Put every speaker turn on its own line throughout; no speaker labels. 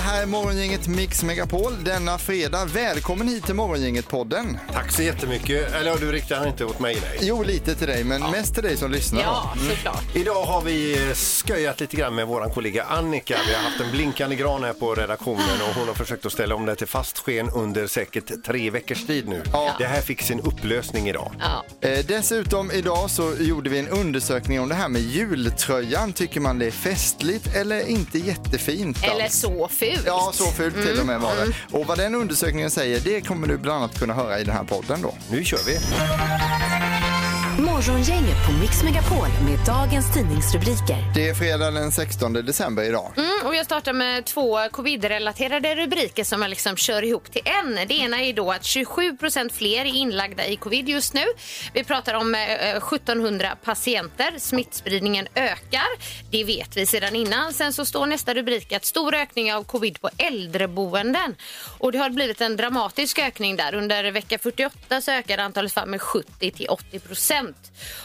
här är morgongänget Mix Megapol denna fredag. Välkommen hit till morgongänget-podden.
Tack så jättemycket. Eller ja, du riktar inte åt mig nej.
Jo, lite till dig, men mest till dig som lyssnar.
Ja, såklart.
Idag har vi eh, sköjat lite grann med vår kollega Annika. Vi har haft en blinkande gran här på redaktionen och hon har försökt att ställa om det till fast sken under säkert tre veckors tid nu.
Ja.
Det här fick sin upplösning idag.
Ja.
Eh, dessutom idag så gjorde vi en undersökning om det här med jultröjan. Tycker man det är festligt eller inte jättefint?
Eller Mm,
alls?
så fult.
Ja, så fult till och med var det. Och vad den undersökningen säger, det kommer du bland annat kunna höra i den här podden då.
Nu kör vi.
Morgongänget på Mix Megapol med dagens tidningsrubriker.
Det är fredag den 16 december idag.
Mm, och jag startar med två covid-relaterade rubriker som jag liksom kör ihop till en. Det ena är då att 27 fler är inlagda i covid just nu. Vi pratar om eh, 1700 patienter. Smittspridningen ökar. Det vet vi sedan innan. Sen så står nästa rubrik att stor ökning av covid på äldreboenden. Och det har blivit en dramatisk ökning där. Under vecka 48 så ökade antalet fall med 70 till 80 procent.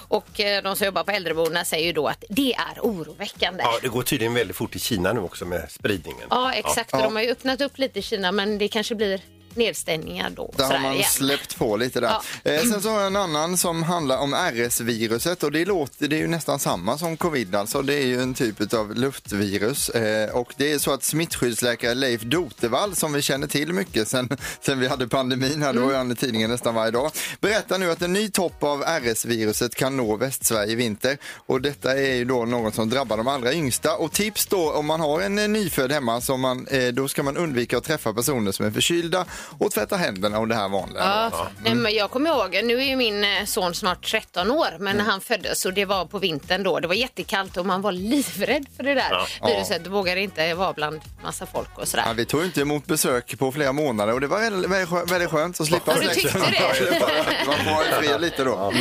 Och eh, de som jobbar på äldreboendena säger ju då att det är oroväckande.
Ja, det går tydligen väldigt fort i Kina nu också med spridningen.
Ja, exakt.
Ja.
Och de har ju öppnat upp lite i Kina, men det kanske blir nedstängningar då.
Där har
sådär
man
igen.
släppt på lite där. Eh, sen så har jag en annan som handlar om RS-viruset och det, låter, det är ju nästan samma som covid alltså. Det är ju en typ av luftvirus eh, och det är så att smittskyddsläkare Leif Dotevall som vi känner till mycket sen, sen vi hade pandemin här, då var ju han i tidningen nästan varje dag, berättar nu att en ny topp av RS-viruset kan nå Västsverige i vinter och detta är ju då något som drabbar de allra yngsta och tips då om man har en eh, nyfödd hemma som man, eh, då ska man undvika att träffa personer som är förkylda och tvätta händerna och det här vanliga. då.
Ja. Nej,
Mm.
men jag kommer ihåg, nu är ju min eh, son snart 13 år, men
Mm.
när han föddes och det var på vintern då, det var jättekallt och man var livrädd för det där viruset. Du vågade inte vara bland massa folk och sådär.
Ja, vi tog inte emot besök på flera månader och det var väldigt, väldigt skö- väldigt skönt att slippa
Ja, du tyckte
Man
det.
får vara fred lite då.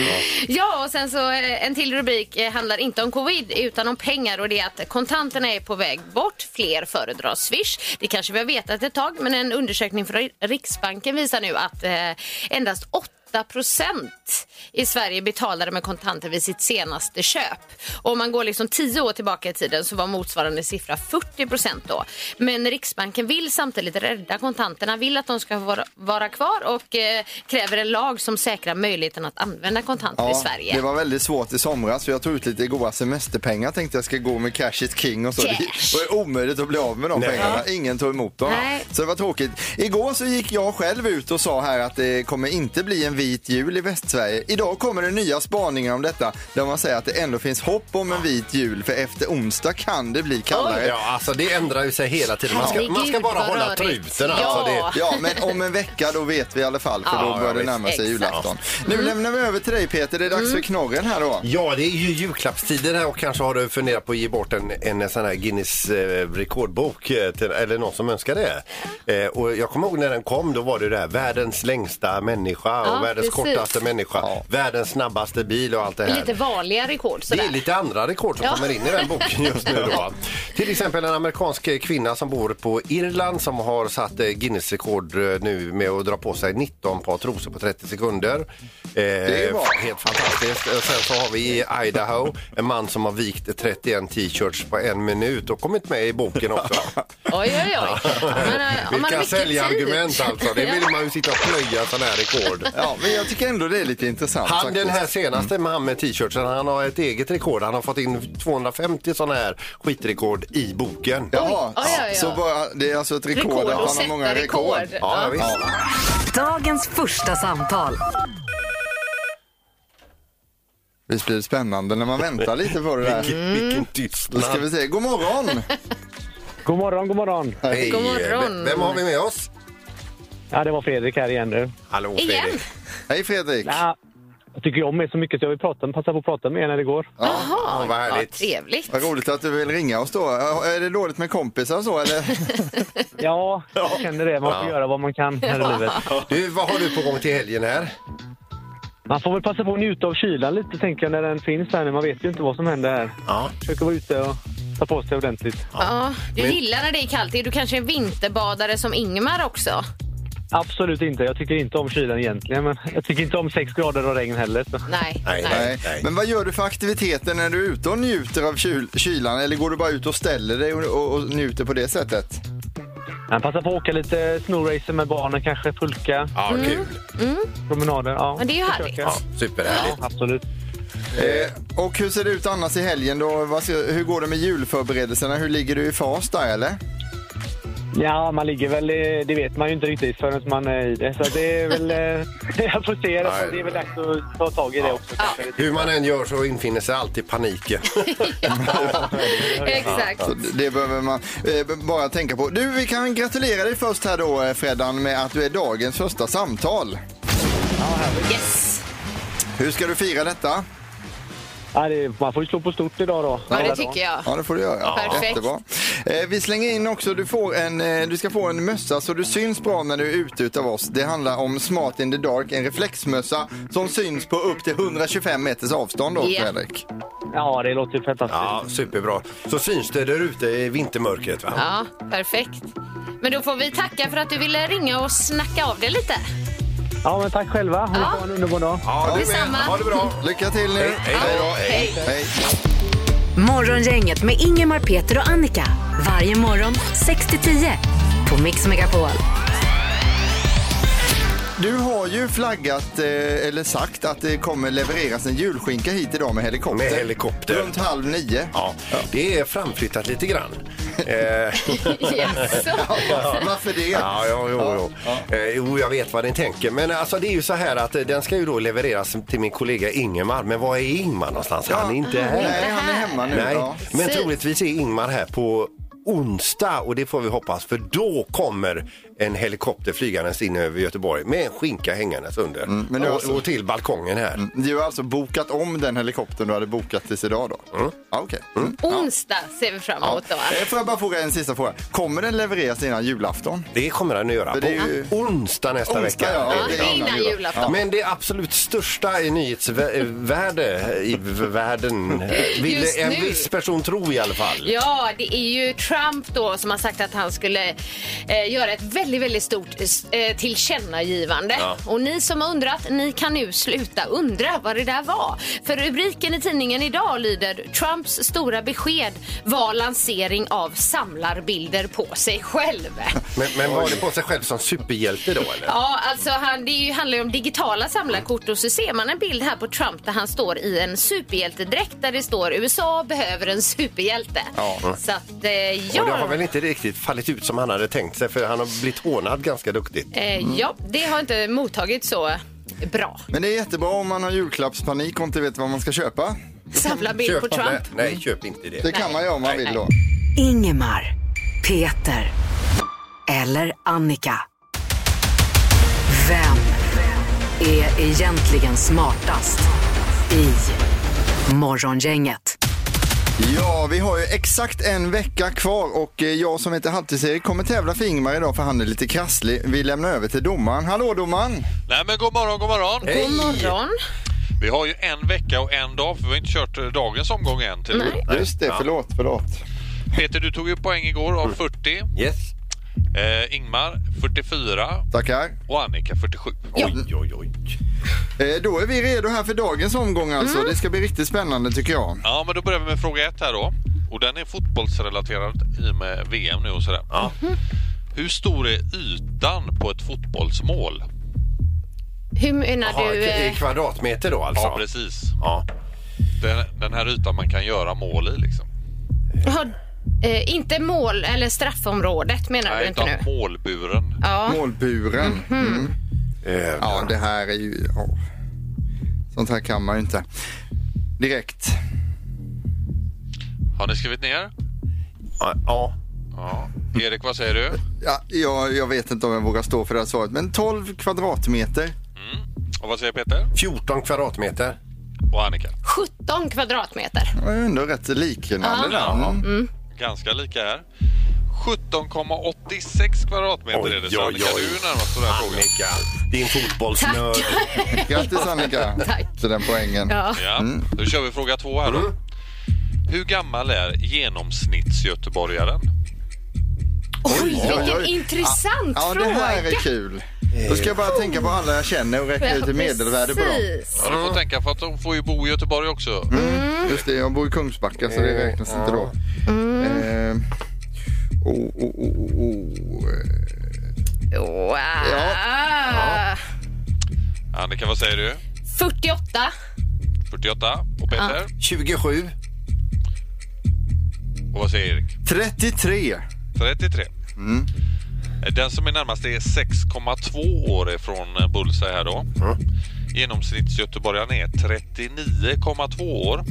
Ja, och sen så eh, en till rubrik eh, handlar inte om covid utan om pengar och det är att kontanterna är på väg bort. Fler föredrar Swish. Det kanske vi har vetat ett tag, men en undersökning från Riksbanken visar nu att eh, endast 8 procent i Sverige betalade med kontanter vid sitt senaste köp. Och om man går liksom 10 år tillbaka i tiden så var motsvarande siffra 40 procent då. Men Riksbanken vill samtidigt rädda kontanterna, vill att de ska vara, vara kvar och eh, kräver en lag som säkrar möjligheten att använda kontanter i
Ja,
Sverige.
det var väldigt svårt i somras för jag tog ut lite goda semesterpengar tänkte jag ska gå med cash is king och så.
Cash.
Det var ju omöjligt att bli av med de
Nej.
pengarna. Ingen tog emot dem.
Nej.
Så det var tråkigt. Igår så gick jag själv ut och sa här att det kommer inte bli en vit jul i Västsverige. Idag kommer det nya spaningar om detta där man säger att det ändå finns hopp om en vit jul för efter onsdag kan det bli kallare.
Ja, alltså det ändrar ju sig hela tiden. Man ska,
Herregud,
man ska bara
vad
hålla
rörigt.
truten.
Ja.
Alltså, det,
Ja, men om en vecka då vet vi i alla fall för
Ja,
då börjar
ja,
det
visst.
närma sig
Exakt.
julafton. Nu lämnar vi över till dig Peter, det är dags för knorren här då.
Ja, det är ju julklappstider här och kanske har du funderat på att ge bort en, en sån här Guinness eh, rekordbok eh, till, eller någon som önskar det. Eh, och jag kommer ihåg när den kom, då var det det här världens längsta människa och
Ja,
världens
precis.
kortaste människa,
Ja.
världens snabbaste bil och allt det här.
Lite vanliga rekord
Det
sådär.
är lite andra rekord som
Ja.
kommer in i den boken just nu. Då. Till exempel en amerikansk kvinna som bor på Irland som har satt eh, Guinness-rekord eh, nu med att dra på sig 19 par trosor på 30 sekunder. Eh,
är bra.
Helt fantastiskt. Och sen så har vi i Idaho en man som har vikt 31 t-shirts på en minut och kommit med i boken också.
Oj, oj, oj. Men, eh, om man har
Vilka
mycket
säljargument
tid.
alltså. Det vill man ju sitta och plöja sådana här rekord.
Ja, men jag tycker ändå det är lite intressant
Han
faktiskt.
den här senaste med han med t-shirtsen, han har ett eget rekord. Han har fått in 250 sådana här skitrekord i boken.
Jaha,
Oj, oj, oj, oj.
så bara, det är alltså ett rekord.
Rekord
att
och
han har
sätta
många rekord.
rekord.
Ja, ja, visst.
Dagens första samtal.
Visst blir det spännande när man väntar lite på det där.
Vilken, vilken
Då ska
tystnad.
vi se, god morgon!
God morgon, god morgon.
Hej.
God morgon.
V- Vem har vi med oss?
Ja, det var Fredrik här igen nu.
Hallå Fredrik.
Igen?
Hej Fredrik!
Ja, jag tycker ju om er så mycket så jag vill prata, passa på att prata med er när det går.
Ja, vad
Ja,
härligt.
trevligt.
Vad roligt att du vill ringa oss då. Är det dåligt med kompisar och så eller?
Ja, jag känner det. Man får
Ja.
göra vad man kan här i livet.
Du, vad har du på gång till helgen här?
Man får väl passa på att njuta av kylan lite, tänker jag, när den finns här nu. Man vet ju inte vad som händer här.
Ja.
Försöker vara ute och ta på sig ordentligt.
Ja, du
Men-
gillar när det är kallt. Är du kanske en vinterbadare som Ingmar också?
Absolut inte. Jag tycker inte om kylan egentligen, men jag tycker inte om sex grader och regn heller. Så.
Nej.
Nej, nej.
Nej. Men vad gör du för aktiviteter när du är ute och njuter av kyl kylan? Eller går du bara ut och ställer dig och, och, och njuter på det sättet?
Men passa på att åka lite snowracer med barnen kanske, pulka, Mm.
Ja, kul.
promenader. Ja,
Men det är ju härligt.
Ja, superhärligt.
Absolut.
Eh, och hur ser det ut annars i helgen då? Vad ser, hur går det med julförberedelserna? Hur ligger du i fas där eller?
Ja, man ligger väl i, det vet man ju inte riktigt förrän man är i det. Så det är väl, eh, jag får se.
Nej.
Det är väl dags att ta tag i det också. kanske.
Hur man än gör så infinner sig alltid paniken.
Exakt.
Så d- det behöver man eh, b- bara tänka på. Du, vi kan gratulera dig först här då eh, Freddan med att du är dagens första samtal.
Yes.
Hur ska du fira detta?
Ja, det, man får ju slå på stort idag då.
Ja, det tycker jag.
Ja, det får du göra.
Perfekt.
Jättebra. Eh, vi slänger in också, du, får en, eh, du ska få en mössa så du syns bra när du är ute utav oss. Det handlar om Smart in the Dark, en reflexmössa som syns på upp till 125 meters avstånd då,
Ja.
Fredrik.
Ja, det låter ju fantastiskt.
Ja, superbra. Så syns det där ute i vintermörkret va?
Ja, perfekt. Men då får vi tacka för att du ville ringa och snacka av dig lite.
Ja, men tack själva. Ha
Ja.
ja. en underbar dag.
Ja, du med.
detsamma.
Ha det bra.
Lycka till nu!
Hej, hej, hej då. Hej.
Hej.
Hej.
Morgongänget med Ingemar, Peter och Annika. Varje morgon 6 till 10 på Mix Megapol.
Du har ju flaggat, eh, eller sagt att det kommer levereras en julskinka hit idag med helikopter.
Med helikopter.
Runt halv nio.
Ja, det är framflyttat lite grann. Eh,
Jaså?
Varför det?
Ja, ja, jo, jo. Eh, jo, jag vet vad ni tänker. Men alltså, det är ju så här att eh, den ska ju då levereras till min kollega Ingemar. Men var är Ingemar någonstans? Han är inte här.
Nej, han är hemma nu.
Nej,
Ja.
men
Precis.
troligtvis är Ingmar här på onsdag och det får vi hoppas för då kommer en helikopter flygandes in över Göteborg med en skinka hängandes under
men nu
och,
alltså-
och till balkongen här.
Du har alltså bokat om den helikoptern du hade bokat tills idag då? Mm. Ja, okej. Mm.
Onsdag ser vi fram emot då. va?
Eh, Får jag bara fråga en sista fråga? Kommer den levereras innan julafton?
Det kommer han att göra
För
på
det är ju-
onsdag nästa
Onsdag,
vecka.
ja.
Ja,
det
det
är
är innan
jul-
julafton.
Men det absolut största i nyhetsvärde i v- världen eh, ville
Just
en
nu.
viss person tro i alla fall.
Ja, det är ju Trump då som har sagt att han skulle eh, göra ett väldigt, väldigt stort eh, tillkännagivande.
Ja.
Och ni som har undrat, ni kan nu sluta undra vad det där var. För rubriken i tidningen idag lyder Trumps stora besked var lansering av samlarbilder på sig själv.
Men, men var det på sig själv som superhjälte då eller?
Ja, alltså han, det är ju, handlar ju om digitala samlarkort och så ser man en bild här på Trump där han står i en superhjältedräkt där det står USA behöver en superhjälte.
Ja.
Så att, eh, ja.
Och det har väl inte riktigt fallit ut som han hade tänkt sig för han har blivit hånad ganska duktigt.
Eh,
Mm.
Ja, det har inte mottagits så bra.
Men det är jättebra om man har julklappspanik och inte vet vad man ska köpa.
Samla bild på
Köp-
Trump.
Nej, nej, köp inte det.
Det kan
Nej.
man göra om man
Nej,
vill
nej.
då.
Ingemar, Peter eller Annika. Vem är egentligen smartast i Morgongänget?
Ja, vi har ju exakt en vecka kvar och eh, jag som heter Halvtids-Erik kommer tävla för Ingmar idag för han är lite krasslig. Vi lämnar över till domaren. Hallå domaren!
Nej men god morgon, god morgon.
God morgon. Eh.
Vi har ju en vecka och en dag för vi har inte kört eh, dagens omgång än. Till.
Just det, förlåt, förlåt.
Peter, du tog ju poäng igår av
Mm.
40.
Yes.
Eh, Ingmar 44
Tackar.
och Annika 47.
Oj, oj, oj.
Eh, Då är vi redo här för dagens omgång alltså.
Mm.
Det ska bli riktigt spännande tycker jag.
Ja, men då börjar vi med fråga ett här då. Och den är fotbollsrelaterad i och med VM nu och sådär. Mm-hmm. Hur stor är ytan på ett fotbollsmål?
Hur menar
Jaha,
du?
k- i
eh,
kvadratmeter då alltså?
precis.
Ja.
Den, den här ytan man kan göra mål i liksom.
har, eh, inte mål eller straffområdet menar du inte nu?
utan målburen.
Ja. Mhm.
Målburen. Mm.
Eh,
Ja, det här är ju... ja. Sånt här kan man ju inte. Direkt.
Har ni skrivit ner?
ja, ja.
Ja. Erik, vad säger du?
Ja, jag, jag vet inte om jag vågar stå för det här svaret, men 12 kvadratmeter.
Och vad säger Peter?
14 kvadratmeter.
Och Annika?
17 kvadratmeter.
Det var ju ändå rätt liknande där. Mm.
Ganska lika här. 17,86 kvadratmeter är det.
Oj,
Så
oj,
Annika,
oj.
du är närmast på den här frågan.
Annika, din fotbollsnörd.
Grattis Annika
Tack.
till den poängen.
Ja.
Ja,
Mm.
då kör vi fråga två här då. Hur gammal är genomsnittsgöteborgaren?
Oj, vilken
oj, oj.
intressant
Ja, det
fråga.
här är kul. Då ska jag bara tänka på alla jag känner och räkna ut ett medelvärde på dem.
Precis. Mm.
Ja, du får tänka för att de får ju bo i Göteborg också.
Mm.
Mm. Just det, jag bor i Kungsbacka så det räknas inte då.
Mm.
Eh, oh, oh, oh, oh, oh.
Wow.
Annika, vad säger du?
48.
48. Och Peter?
27.
Och vad säger Erik?
33.
33.
Mm.
Eh, Den som är närmast är 6,2 år ifrån eh, Bullseye här då. Genomsnittsgöteborgaren är 39,2 år.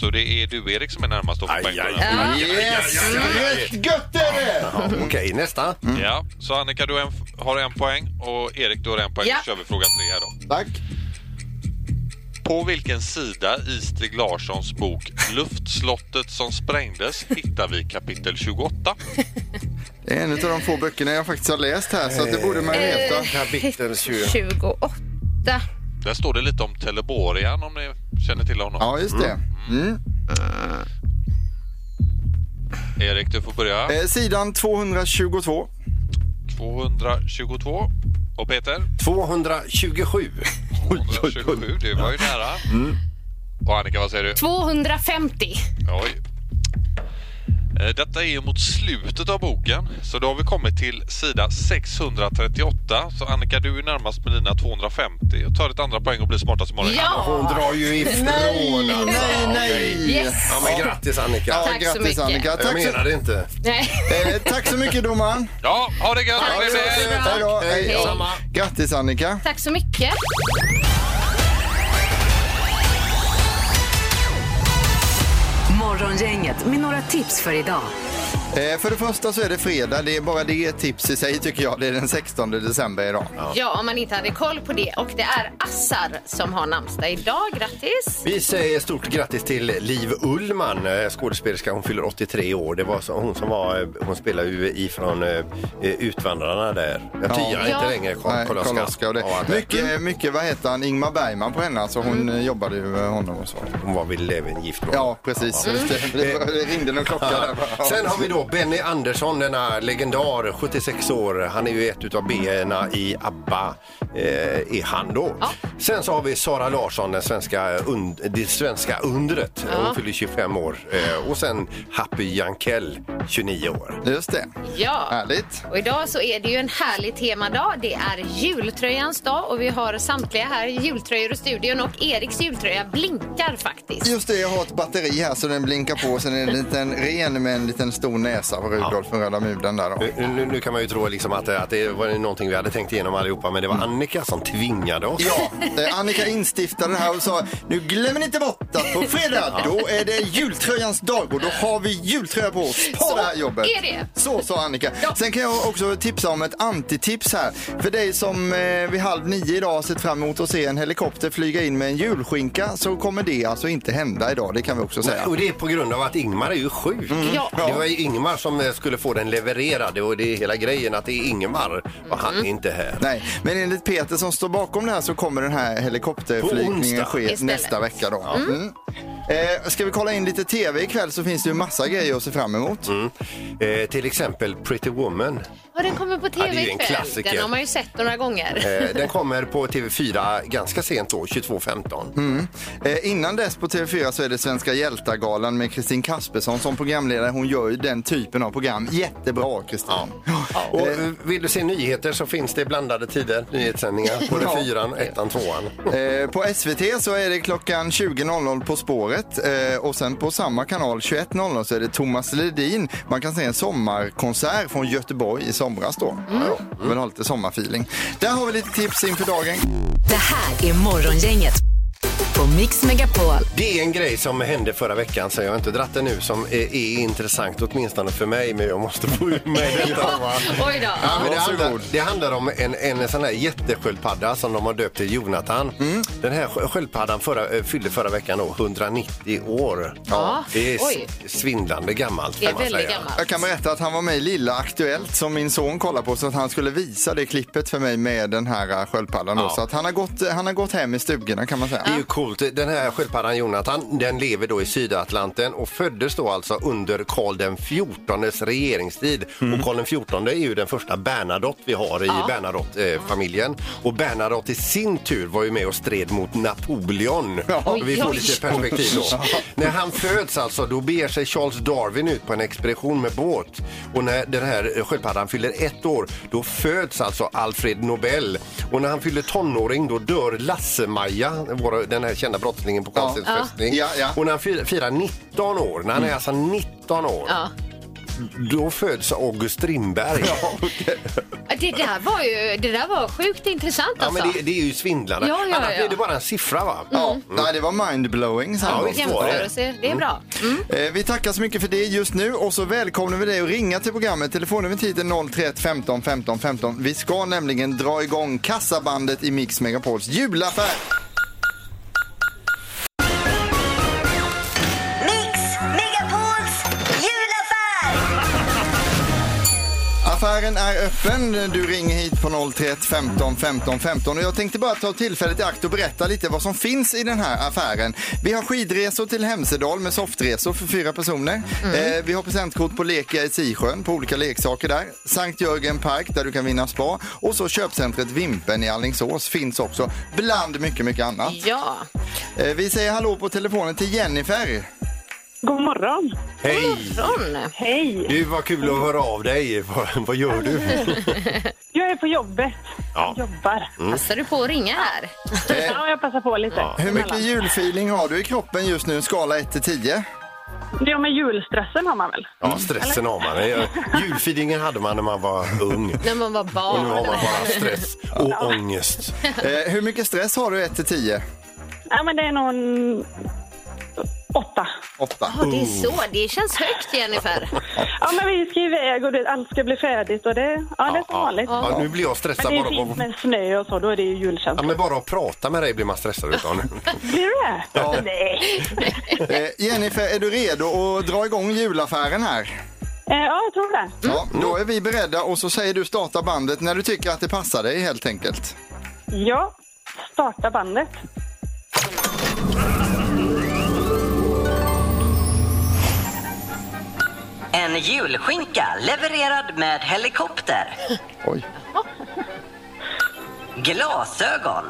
Så det är du Erik som är närmast då på
Aj, aj,
bänken.
aj.
Yes! Rätt gött är det!
Ja, Okej, nästa.
Ja, så Annika du har en, har en poäng och Erik du har en poäng.
Ja.
Då kör vi fråga tre här då.
Tack.
På vilken sida i Stig Larssons bok Luftslottet som sprängdes hittar vi kapitel 28?
Det är en av de få böckerna jag faktiskt har läst här så att det borde man ju veta.
Kapitel 20.
28.
Där står det lite om Teleborian om ni känner till honom.
Ja, just det. Mm.
Erik du får börja.
Eh, sidan 222.
222. Och Peter?
227.
227, det var ju nära. Och Annika, vad säger du?
250.
Oj. Eh, Detta är ju mot slutet av boken, så då har vi kommit till sida 638. Så Annika, du är närmast med dina 250 och tar ditt andra poäng och blir smartast imorgon.
Hon
Ja!
drar ju ifrån alltså.
Ah. Nej, nej!
Yes!
Ja, men grattis Annika.
Ja,
Tack så
grattis
mycket.
Annika.
Jag
Tack så,
menade inte.
Nej.
eh, tack så mycket domaren.
Ja, ha det gött!
Ja,
Hej,
det
hej.
var bra.
Hej då. Hej.
Hej.
Ja. Grattis Annika.
Tack så mycket.
Morgongänget med några tips för idag.
Eh, för det första så är det fredag. Det är bara det är ett tips i sig tycker jag. Det är den 16 december idag.
Ja, om man inte hade koll på det. Och det är Assar som har namnsdag idag. Grattis!
Vi säger stort grattis till Liv Ullman, eh, skådespelerska. Hon fyller 83 år. Det var så, hon som var, eh, hon spelar ju ifrån eh, Utvandrarna där. Jag tyar
Ja.
inte längre. Karl-
Nej,
Karl Oskar.
Karl Oskar och det.
Ja, Mycket.
Mycket, mycket, vad heter han, Ingmar Bergman på henne. Alltså hon eh, jobbade ju med honom och så.
Hon var väl även gift då?
Ja, precis. Just Det, det, var- det ringde någon klocka där. bara.
Sen har vi då Benny Andersson, denna legendar, 76 år. Han är ju ett utav B-erna i ABBA, eh, är han då.
Ja.
Sen så har vi Sara Larsson, den svenska und, det svenska undret.
Ja.
Hon fyller 25 år. Eh, och sen Happy Jankell, 29 år.
Just det.
Ja.
Härligt.
Och idag så är det ju en härlig temadag. Det är jultröjans dag och vi har samtliga här jultröjor i studion och Eriks jultröja blinkar faktiskt.
Just det, jag har ett batteri här så den blinkar på. Sen är det en liten ren med en liten stor näsa på Rudolf från Röda Mulen där då.
Nu, nu, nu kan man ju tro liksom att, att det var någonting vi hade tänkt igenom allihopa, men det var Annika som tvingade oss.
Ja, eh, Annika instiftade det här och sa nu glömmer ni inte bort att på fredag då är det jultröjans dag och då har vi jultröja på oss på
Så
det här jobbet.
är det.
Så sa Annika.
Ja.
Sen kan jag också tipsa om ett antitips här. För dig som eh, vid halv nio idag har sett fram emot att se en helikopter flyga in med en julskinka så kommer det alltså inte hända idag. Det kan vi också säga.
Och det är på grund av att Ingmar är ju sjuk.
Ja.
Det var ju Ingmar som eh, skulle få den levererad och det är hela grejen att det är Ingmar och han är inte här.
Nej, men enligt Peter som står bakom det här så kommer den här
På
helikopterflygningen
onsdag.
ske
Istället.
nästa vecka då. Mm. Eh, ska vi kolla in lite tv ikväll så finns det ju massa grejer att se fram emot.
Eh, till exempel Pretty Woman.
Och den kommer på
Ja, det är
tv
ju en
ikväll.
klassiker.
Den har man ju sett några gånger.
Eh, den kommer på TV4 ganska sent då, 22.15.
Eh, innan dess på TV4 så är det Svenska hjältargalan med Kristin Kaspersson som programledare. Hon gör ju den typen av program jättebra, Kristin.
Och eh, vill du se nyheter så finns det blandade tider, nyhetssändningar, både
Ja.
fyran, ettan, tvåan.
Eh, på SVT så är det klockan 20.00 På spåret eh, och sen på samma kanal 21.00 så är det Thomas Ledin. Man kan se en sommarkonsert från Göteborg i somras då. Mm. Ja, jag vill ha lite sommarfeeling. Där har vi lite tips inför dagen.
Det här är Morgongänget på Mix Megapol.
Det är en grej som hände förra veckan, så jag har inte dratt den nu, som är, är intressant åtminstone för mig, men jag måste få ur mig detta. va?
Oj då.
Ja, men det, handlar,
Varsågod.
det handlar om en, en sån här jättesköldpadda som de har döpt till Jonathan.
Mm.
Den här skö- sköldpaddan förra, eh, fyllde förra veckan då 190 år.
Ja,
Det är s-
oj.
svindlande gammalt
Det är
kan man
väldigt
säga.
gammalt.
Jag kan berätta att han var med i Lilla Aktuellt som min son kollar på så att han skulle visa det klippet för mig med den här eh, sköldpaddan. då.
Ja.
Så att han har, gått, han har gått hem i stugorna kan man säga.
Det är ju coolt. Den här sköldpaddan Jonathan, den lever då i Sydatlanten och föddes då alltså under Karl den XIVs regeringstid.
Mm.
Och Karl den XIV är ju den första Bernadotte vi har i Bernadotte-familjen. Och Bernadotte i sin tur var ju med och stred mot Napoleon.
Oj,
Vi får
oj.
lite perspektiv då. När han föds alltså, då beger sig Charles Darwin ut på en expedition med båt. Och när den här sköldpaddan fyller ett år, då föds alltså Alfred Nobel. Och när han fyller tonåring, då dör Lasse-Maja, vår- den här kända brottslingen på Karlstens
Ja.
fästning.
Ja, ja.
Och när han fyr- firar 19 år, när han är alltså 19 år,
Ja.
då föds August Strindberg.
Det där var ju det där var sjukt intressant
Ja,
alltså.
men det, det är ju svindlande.
Ja, ja,
Annars
ja.
är det bara en siffra, va?
Ja, nej, det var mindblowing.
Ja,
Ja,
visst var det.
Jämförelse, det är bra. Mm.
Eh, Vi tackar så mycket för det just nu och så välkomnar vi dig att ringa till programmet. Telefonnumret hit är 031 15 15 15. Vi ska nämligen dra igång kassabandet i Mix Megapols julaffär.
Mix Megapols julaffär!
Affären är öppen. Du ringer hit på 031 15 15 15. Och jag tänkte bara ta tillfället i akt och berätta lite vad som finns i den här affären. Vi har skidresor till Hemsedal med softresor för fyra personer. Eh, vi har presentkort på Lekia i Sisjön på olika leksaker där. Sankt Jörgen Park där du kan vinna spa. Och så köpcentret Vimpen i Alingsås finns också. Bland mycket, mycket annat.
Ja.
Eh, vi säger hallå på telefonen till Jennifer.
God morgon!
Hej!
Ron.
Hej!
Du, vad kul att höra av dig. Vad, vad gör du?
Jag är på jobbet.
Ja.
Jobbar.
Mm.
Passar du på att ringa här?
Eh,
Ja, jag passar på lite.
hur mycket
Emellan.
julfeeling har du i kroppen just nu? Skala 1 till 10?
Ja, men julstressen har man väl?
Ja, stressen har man. Julfidingen hade man när man var ung.
När man var
Och nu har
barn.
man bara stress och ångest.
Eh, hur mycket stress har du 1 till 10?
Ja, men det är nog en... Åtta.
8.
Ja, det är så. Det känns högt, Jennifer.
Ja, men vi ska iväg och det, allt ska bli färdigt och det, ja, det är som vanligt.
Ja, nu blir jag stressad
Men det är
bara
fint
av
med snö och så, då är det ju
Ja,
julkänsla.
men bara att prata med dig blir man stressad utav nu.
Blir du det?
Ja.
Nej.
Eh, Jennifer, är du redo att dra igång julaffären här?
Eh, Ja, jag tror det.
Ja, då är vi beredda och så säger du starta bandet när du tycker att det passar dig helt enkelt.
Ja, starta bandet.
En julskinka levererad med helikopter.
Oj.
Glasögon.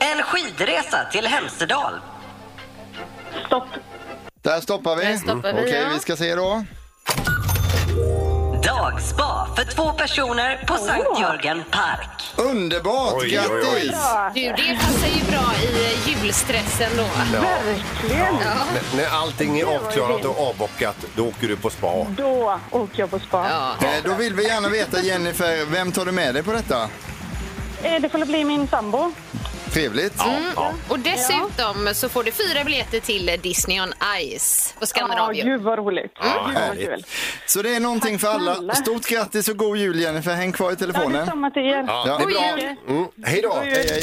En skidresa till Hemsedal.
Stopp.
Där stoppar vi. Mm.
Där stoppar vi,
Okej,
ja.
vi ska se då.
Dagspa för två personer på Sankt Jörgen Park.
Underbart!
Oj, oj, oj.
Grattis!
Ja,
Du, det passar ju bra i eh, julstressen då.
verkligen.
N- När allting är avklarat och avbockat, då åker du på spa.
Då åker jag på spa.
Ja.
Eh, Då vill vi gärna veta Jennifer, vem tar du med dig på detta?
Eh, Det får bli min sambo.
Trevligt. Mm.
Ja.
Och dessutom så får du fyra biljetter till eh, Disney on Ice på
Ja,
Skandinavium.
gud vad roligt.
Ja,
gud vad
härligt.
kul.
Så det är någonting för alla.
snälla.
Stort grattis och god jul Jennifer. Häng kvar i
Ja,
telefonen.
detsamma till er.
Ja, det är bra. Mm, hej då!
Hej, hej.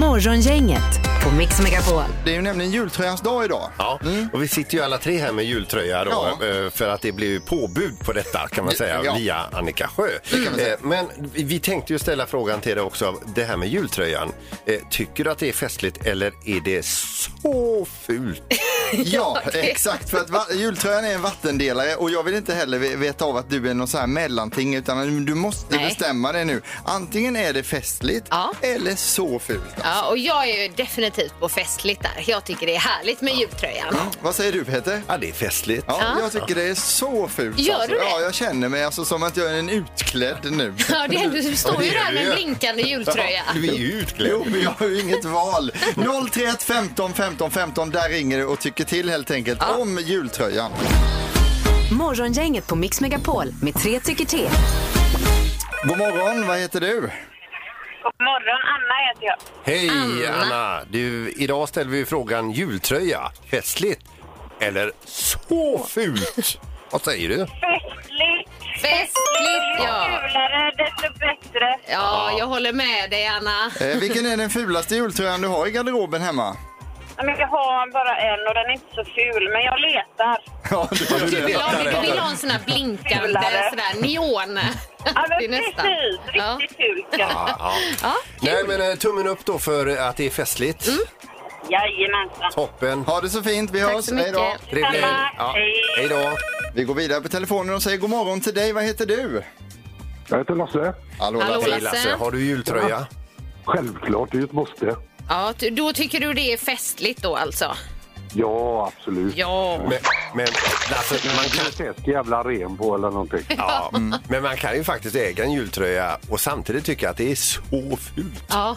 Morgongänget på Mix Megapol.
Det är ju nämligen jultröjans dag idag.
Ja, och vi sitter ju alla tre här med jultröja då,
Ja.
eh, för att det blev ju påbud på detta kan man säga
Ja.
via Annika Sjö. Eh, Men vi vi tänkte ju ställa frågan till dig också, det här med jultröjan. Eh, Tycker du att det är festligt eller är det så fult?
Ja, exakt. För att va- jultröjan är en vattendelare och jag vill inte heller ve- veta av att du är någon så här mellanting utan du måste
Nej.
bestämma dig nu. Antingen är det festligt
Ja.
eller så fult. alltså.
Ja, och jag är ju definitivt på festligt där. Jag tycker det är härligt med jultröjan.
Vad säger du Peter?
Ja, det är festligt.
Ja, Jag tycker det är så fult.
Gör
alltså.
du det?
Ja, jag känner mig alltså som att jag är en utklädd nu.
Ja, det, du står ju
det är
där
du
med en
ju.
blinkande jultröja.
Du är ju utklädd.
Jo, men jag har ju inget val. 031 15 15 15, där ringer du och tycker till helt enkelt om jultröjan.
Morgongänget på Mix Megapol med tre tycker till.
God morgon, vad heter du?
God morgon, Anna heter jag.
Hej Anna. Du, idag ställer vi ju frågan jultröja, festligt eller så fult? Vad säger du?
Festligt!
Festligt, ja.
Kulare, desto bättre.
Ja, jag håller med dig, Anna.
Eh, vilken är den fulaste jultröjan du har i garderoben hemma?
Men jag har bara en och den är inte så ful, men jag letar.
Ja, du
Ja, du
Du vill ha, du vill ha
letar
en sån här blinkande,
Fulare.
sådär neon.
Ja, men
Det är nästan.
precis.
Ja.
Riktigt ful ska den vara.
Ja.
Ja, Mm.
Nej, men eh, tummen upp då för att det är festligt.
Jajamensan.
Toppen.
Ha det så fint. Vi
tack
hörs.
så
Hej då.
mycket.
Trevlig helg.
Detsamma.
Ja.
Hej.
Hej då.
Vi går vidare på telefonen och säger god morgon till dig. Vad heter du?
Jag heter Lasse.
Hallå,
Hallå, Lasse.
Hej Lasse,
Lasse.
har du jultröja?
Självklart, det är ju ett måste.
Ja, ty- då tycker du det är festligt då alltså?
Ja, absolut.
Ja.
Men, men Lasse, man kan...
Kanske ett jävla ren på eller någonting.
Ja, men man kan ju faktiskt äga en jultröja och samtidigt tycka att det är så fult.
Ja,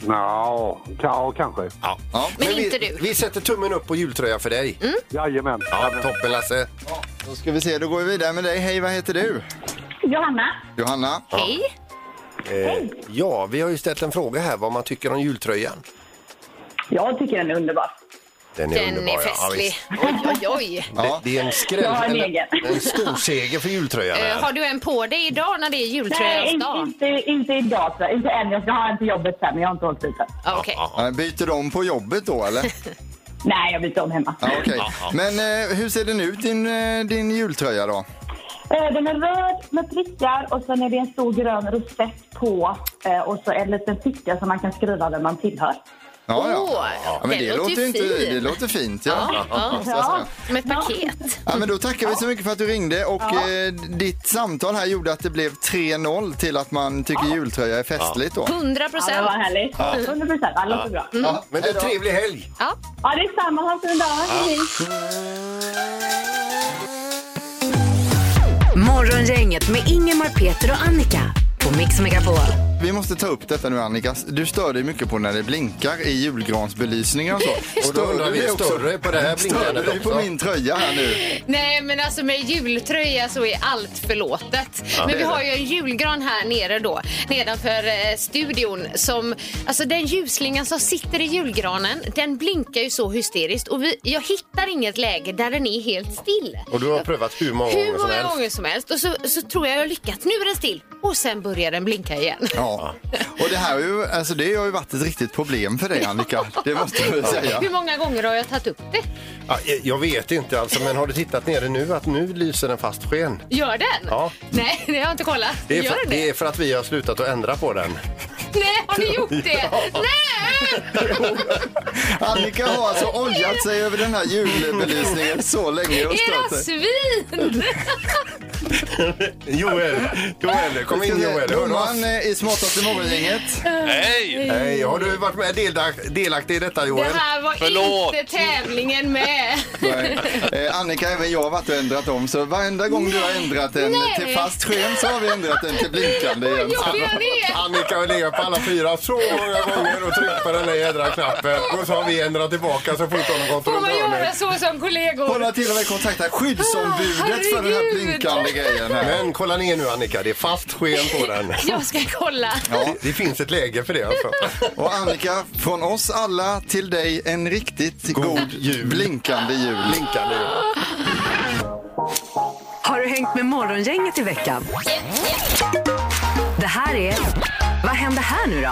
Nå, ka- ja, kanske.
Ja.
Men
vi,
inte du. Mm.
Vi sätter tummen upp på jultröja för dig.
Jajamän.
Ja, toppen Lasse.
Då ska vi se, då går vi vidare med dig. Hej, vad heter du?
Johanna.
Johanna.
hej.
Eh, ja, vi har ju ställt en fråga här vad man tycker om jultröjan.
Jag tycker den är underbar.
Den är
Den
underbar.
är
ja. Ja,
festlig. Oj,
visst.
oj, oj.
Ja.
Det, det är en skräll.
Jag har en
eller-
egen.
en stor seger för jultröjan.
Eh,
här.
Har du en på dig idag när det är
Nej,
jultröjans
inte,
dag?
inte, inte idag. så- Inte än. Jag ska ha en till jobbet sen, men jag har inte hållit ut än.
Ja, Okej.
Ja, Eh, Byter de på jobbet då eller?
Nej, jag byter om hemma.
Ja, okej. Men eh, hur ser den ut din, eh, din jultröja då?
Eh, Den är röd med prickar och sen är det en stor grön rosett på eh, och så en liten ficka som man kan skriva vem man tillhör.
Ja,
Åh,
ja. men
den
det
låter
låter ju inte,
fin.
det låter fint. Ja.
Ja,
måste jag säga.
Som ett paket.
Ja, men då tackar vi så mycket för att du ringde och eh, ditt samtal här gjorde att det blev 3-0 till att man tycker jultröja är festligt då.
100
Ja, men
procent.
vad härligt. 100 procent. Det låter bra.
Ja,
Men det är en trevlig helg!
Ja.
Ja, det är samma. Ha en fin dag. Hej.
Morgongänget med Ingemar, Peter och Annika på Mix Megapol.
Vi måste ta upp detta nu Annika. Du stör dig mycket på när det blinkar i julgransbelysningar och så.
Och då undrar vi,
dig också?
större på det här
Stör du
blinkandet
dig på
också?
min tröja här nu?
Nej, men alltså med jultröja så är allt förlåtet. men vi har ju en julgran här nere då, nedanför eh, studion. Som, alltså den ljusslingan som sitter i julgranen, den blinkar ju så hysteriskt. Och vi, jag hittar inget läge där den är helt still.
Och du har prövat hur många
Hur
gånger som
många
helst.
gånger som helst. Och så, så tror jag jag har lyckats. Nu är den still. Och sen börjar den blinka igen.
Ja. Och det här har ju, alltså det har ju varit ett riktigt problem för dig Annika. Det måste jag ju säga.
Hur många gånger har jag tagit upp det?
Ja, jag- jag vet inte alltså, men har du tittat nere nu att nu lyser den fast sken?
Gör den?
Ja.
Nej, det har jag inte kollat.
Det är,
Gör
för,
den
det är för att vi har slutat att ändra på den.
Nej, har du gjort det? Nej!
Annika har alltså ojat sig över den här julbelysningen så länge och
Era
stört sig.
svin!
Joel, Joel, kom in Joel. Hör du
Domaren
oss?
eh, i smartaste morgongänget.
Hej!
Hej, har du varit med delaktig, delaktig i detta
Det
Joel?
här var
Förlåt.
inte tävlingen med.
Nej. Eh, Annika, även jag har varit och ändrat om. Så varenda gång du har ändrat den
Nej.
till fast sken så har vi ändrat den till blinkande igen.
Jobbiga ni är.
Annika har legat på alla fyra så många gånger och tryckt på den där jädra knappen och så har vi ändrat tillbaka så fort hon har gått
Får
runt
man göra
hörnet.
så som
Hon
kollegor?
har till och med kontaktat skyddsombudet för den här
Herregud.
blinkande grejen. Här.
Men kolla ner nu Annika, det är fast sken på den.
Jag ska kolla.
Det, det finns ett läge för det alltså.
Och Annika, från oss alla till dig en riktigt god,
jul.
blinkande jul.
Blinkar nu.
Har du hängt med Morgongänget i veckan? Det här är... Vad händer här nu då?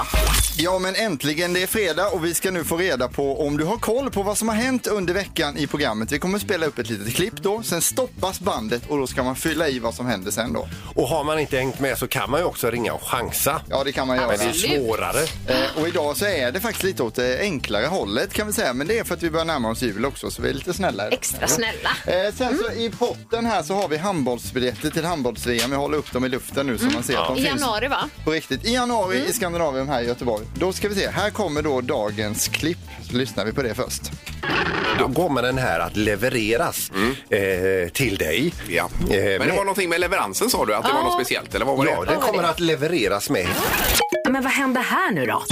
Ja, men äntligen. Det är fredag och vi ska nu få reda på om du har koll på vad som har hänt under veckan i programmet. Vi kommer spela upp ett litet klipp då, sen stoppas bandet och då ska man fylla i vad som händer sen då.
Och har man inte hängt med så kan man ju också ringa och chansa.
Ja, det kan man göra.
Men det är svårare.
Eh, Och idag så är det faktiskt lite åt det enklare hållet kan vi säga. Men det är för att vi börjar närma oss jul också så vi är lite snällare.
Extra snälla.
Eh, sen
Mm.
så i potten här så har vi handbollsbiljetter till handbolls-VM. Jag håller upp dem i luften nu så man ser att de
Mm. I
finns
januari, Mm. va?
på riktigt. I januari i Skandinavien här i Göteborg. Då ska vi se, här kommer då dagens klipp. Så lyssnar vi på det först.
Då kommer den här att levereras eh, till dig.
Mm. Ja.
Eh,
Men det var någonting med leveransen sa du, att det var något speciellt eller vad var det?
Ja, den kommer att levereras med.
Men vad händer här nu då?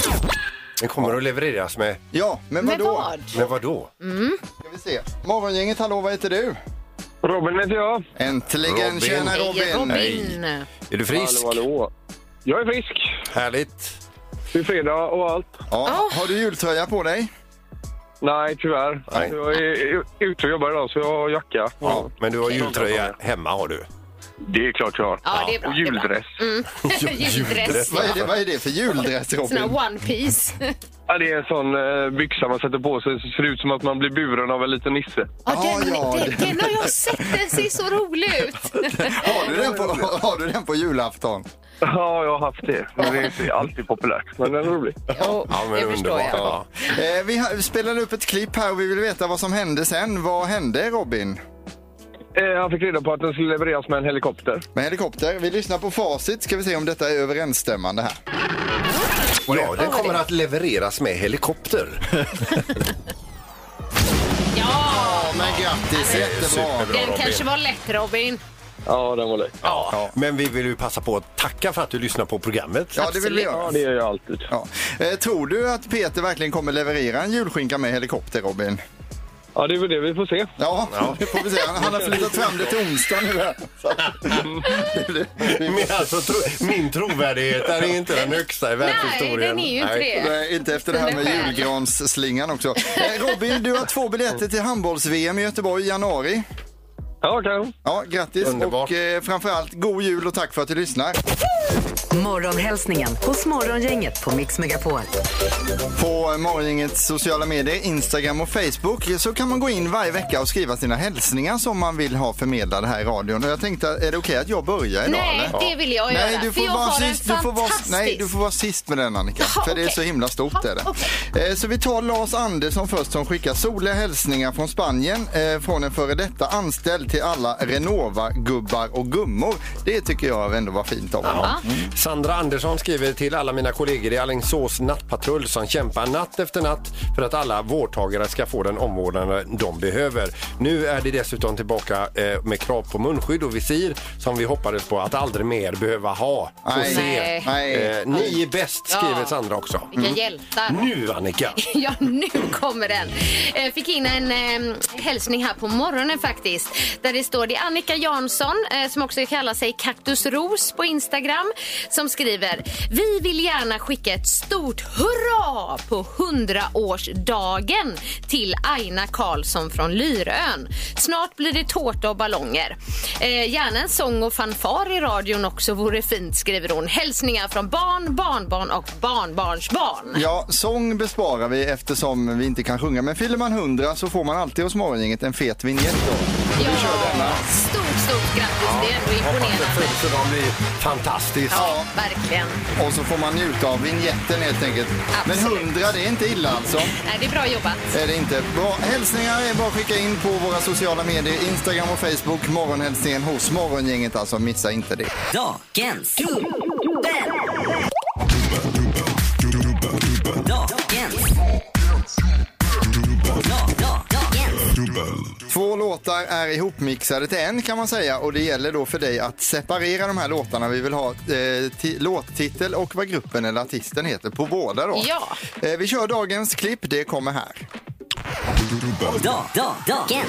Den kommer att levereras med.
Ja, men
Med
vadå?
vad?
Men vad då?
Ska vi se. Morgongänget, hallå vad heter du?
Robin heter jag.
Äntligen,
Robin.
tjena Robin!
Hej,
Hej.
Robin.
Är du frisk?
Hallå, hallå. Jag är frisk.
Härligt.
Det är fredag och allt.
Ja, har du jultröja på dig?
Nej, tyvärr.
Nej.
Jag är ute och jobbar idag, så jag har jacka.
Ja, men du har jultröja hemma har du.
Det är klart jag har.
Ja, det är bra.
Och
det är bra.
juldress.
Juldress.
Vad är det, vad är det för juldress
Sån
Robin?
här one piece.
Ja, det är en sån eh, byxa man sätter på sig så ser det ut som att man blir buren av en liten nisse.
Ja, den, den, den har jag sett, den ser så rolig ut.
Har du den på, har du den på julafton?
Ja, jag har haft det. Men det är inte alltid populärt, men den är rolig.
Ja, men underbart. Ja.
Eh, vi har- spelade upp ett klipp här och vi vill veta vad som hände sen. Vad hände Robin?
Eh, han fick reda på att den skulle levereras med en helikopter.
Med helikopter. Vi lyssnar på facit ska vi se om detta är överensstämmande här.
Ja, den kommer att levereras med helikopter.
Ja, men grattis! Jättebra!
Superbra,
Den
Robin.
kanske var lätt Robin.
Ja, den var lätt.
Ja, men vi vill ju passa på att tacka för att du lyssnar på programmet.
Ja, det vill vi
Ja,
göra.
det gör jag alltid.
Ja. Eh, tror du att Peter verkligen kommer leverera en julskinka med helikopter, Robin?
Ja, det är väl det vi får se.
Ja, det får vi se. Han, han har flyttat fram det till onsdag nu. här. Så att- det blir-
Men alltså, tro, min trovärdighet den är inte den högsta i världshistorien.
den är ju inte det.
Nej, inte efter det här med julgransslingan också. Eh, Robin, du har två biljetter till handbolls-VM i Göteborg i januari.
Ja, kan.
Ja, grattis
Underbart.
och eh, framförallt god jul och tack för att du lyssnar.
Morgonhälsningen hos Morgongänget på Mix Megapol.
På Morgongängets sociala medier, Instagram och Facebook så kan man gå in varje vecka och skriva sina hälsningar som man vill ha förmedlade här i radion. Och jag tänkte, är det okej att jag börjar idag
Nej,
eller?
det vill jag
Nej
göra.
du,
för
får
jag
vara
har en
sist, du, får vara,
fantastisk.
nej, du får vara sist med den Annika.
Jaha,
för det är
okej.
så himla stort.
Ja,
är det. Eh, Så vi tar Lars Andersson först som skickar soliga hälsningar från Spanien eh, från en före detta anställd till alla Renova-gubbar och gummor. Det tycker jag ändå var fint av honom.
Sandra Andersson skriver till alla mina kollegor i Alingsås nattpatrull som kämpar natt efter natt för att alla vårdtagare ska få den omvårdnad de behöver. Nu är det dessutom tillbaka eh, med krav på munskydd och visir som vi hoppades på att aldrig mer behöva ha.
Nej.
Hos er.
Nej.
Nej.
Eh, ni är bäst, skriver
Ja.
Sandra också. Mm.
Vilka hjältar.
Nu, Annika!
Ja, nu kommer den. Eh, Fick in en eh, hälsning här på morgonen faktiskt. Där det står, det är Annika Jansson eh, som också kallar sig Kaktus Ros på Instagram som skriver Vi vill gärna skicka ett stort hurra på 100-årsdagen till Aina Karlsson från Lyrön. Snart blir det tårta och ballonger. Eh, gärna en sång och fanfar i radion också vore fint skriver hon. Hälsningar från barn, barnbarn och barnbarnsbarn.
Ja, sång besparar vi eftersom vi inte kan sjunga. Men fyller man 100 så får man alltid hos Morgongänget en fet vignett då.
Ja, stort, stort grattis. Det är ändå imponerande.
Så de blir fantastiskt.
Ja, verkligen.
Och så får man njuta av vignetten helt enkelt.
Absolut.
Men 100 det är inte illa alltså.
Nej, det är bra jobbat.
Är det inte. Bra. Hälsningar är bara att skicka in på våra sociala medier, Instagram och Facebook. Morgonhälsningen hos Morgongänget alltså. Missa inte det.
Dagens dubbel. Dagens. Dagens.
Två låtar är ihopmixade till en kan man säga och det gäller då för dig att separera de här låtarna. Vi vill ha eh, ti- låttitel och vad gruppen eller artisten heter på båda då.
Ja.
Eh, vi kör dagens klipp, det kommer här.
Da- da- Dagens.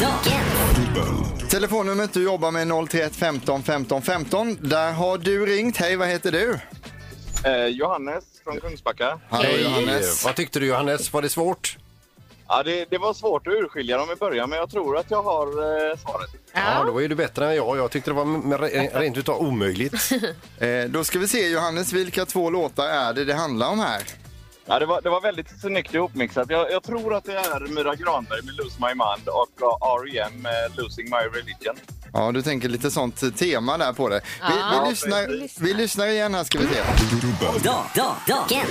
Dagens.
Telefonnumret du jobbar med 031 15 15 15. Där har du ringt. Hej, vad heter du?
Eh, Johannes från Kungsbacka.
Hallå
Hej.
Johannes.
Vad tyckte du Johannes? Var det svårt?
Ja, det, det var svårt att urskilja dem i början, men jag tror att jag har eh, svaret.
Ja,
Ja.
då är du bättre än jag. Jag tyckte det var m- re- rent utav omöjligt.
Eh, då ska vi se Johannes, vilka två låtar är det det handlar om här?
Ja, det, var, det var väldigt snyggt ihopmixat. Jag, jag tror att det är Myra Granberg med Lose My Mind och R.E.M. med Losing My Religion.
Ja, du tänker lite sånt tema där på det. Vi,
Ja,
vi, lyssnar, vi lyssnar igen här ska vi se.
Da- da- Dagens.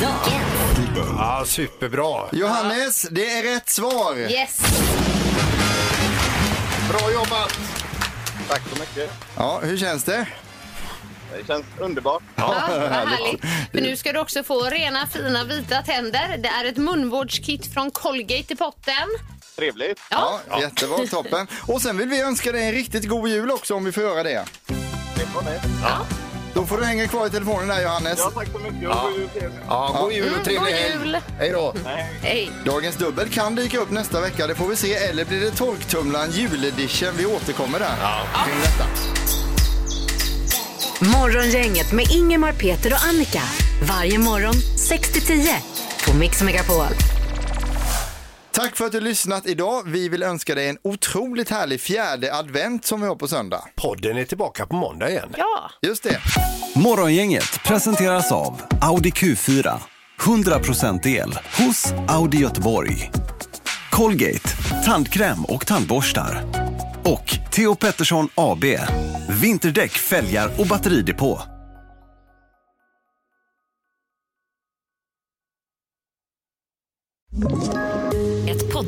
Dagens.
Ja, superbra.
Johannes, det är rätt svar.
Yes.
Bra jobbat!
Tack så mycket.
Ja, hur känns det?
Det känns underbart.
Ja, vad härligt. För nu ska du också få rena, fina, vita tänder. Det är ett munvårdskit från Colgate i potten.
Trevligt.
Ja.
Jättebra, toppen. Och sen vill vi önska dig en riktigt god jul också om vi får göra det.
Det var det.
Då får du hänga kvar i telefonen där Johannes.
Ja, tack så mycket. Och
Ja.
god jul till er.
Ja, god jul och trevlig
Mm, god
helg.
jul.
Hej då.
Hej.
Dagens dubbel kan dyka upp nästa vecka, det får vi se. Eller blir det torktumlaren juledition? Vi återkommer där. Ja. Kring detta.
Morgongänget med Ingemar, Peter och Annika. Varje morgon 6 till 10 på Mix Megapol.
Tack för att du lyssnat idag. Vi vill önska dig en otroligt härlig fjärde advent som vi har på söndag.
Podden är tillbaka på måndag igen.
Ja.
Just det.
Morgongänget presenteras av Audi Q4. 100% el hos Audi Göteborg. Colgate, tandkräm och tandborstar. Och Theo Pettersson AB, vinterdäck, fälgar och batteridepå.
Ett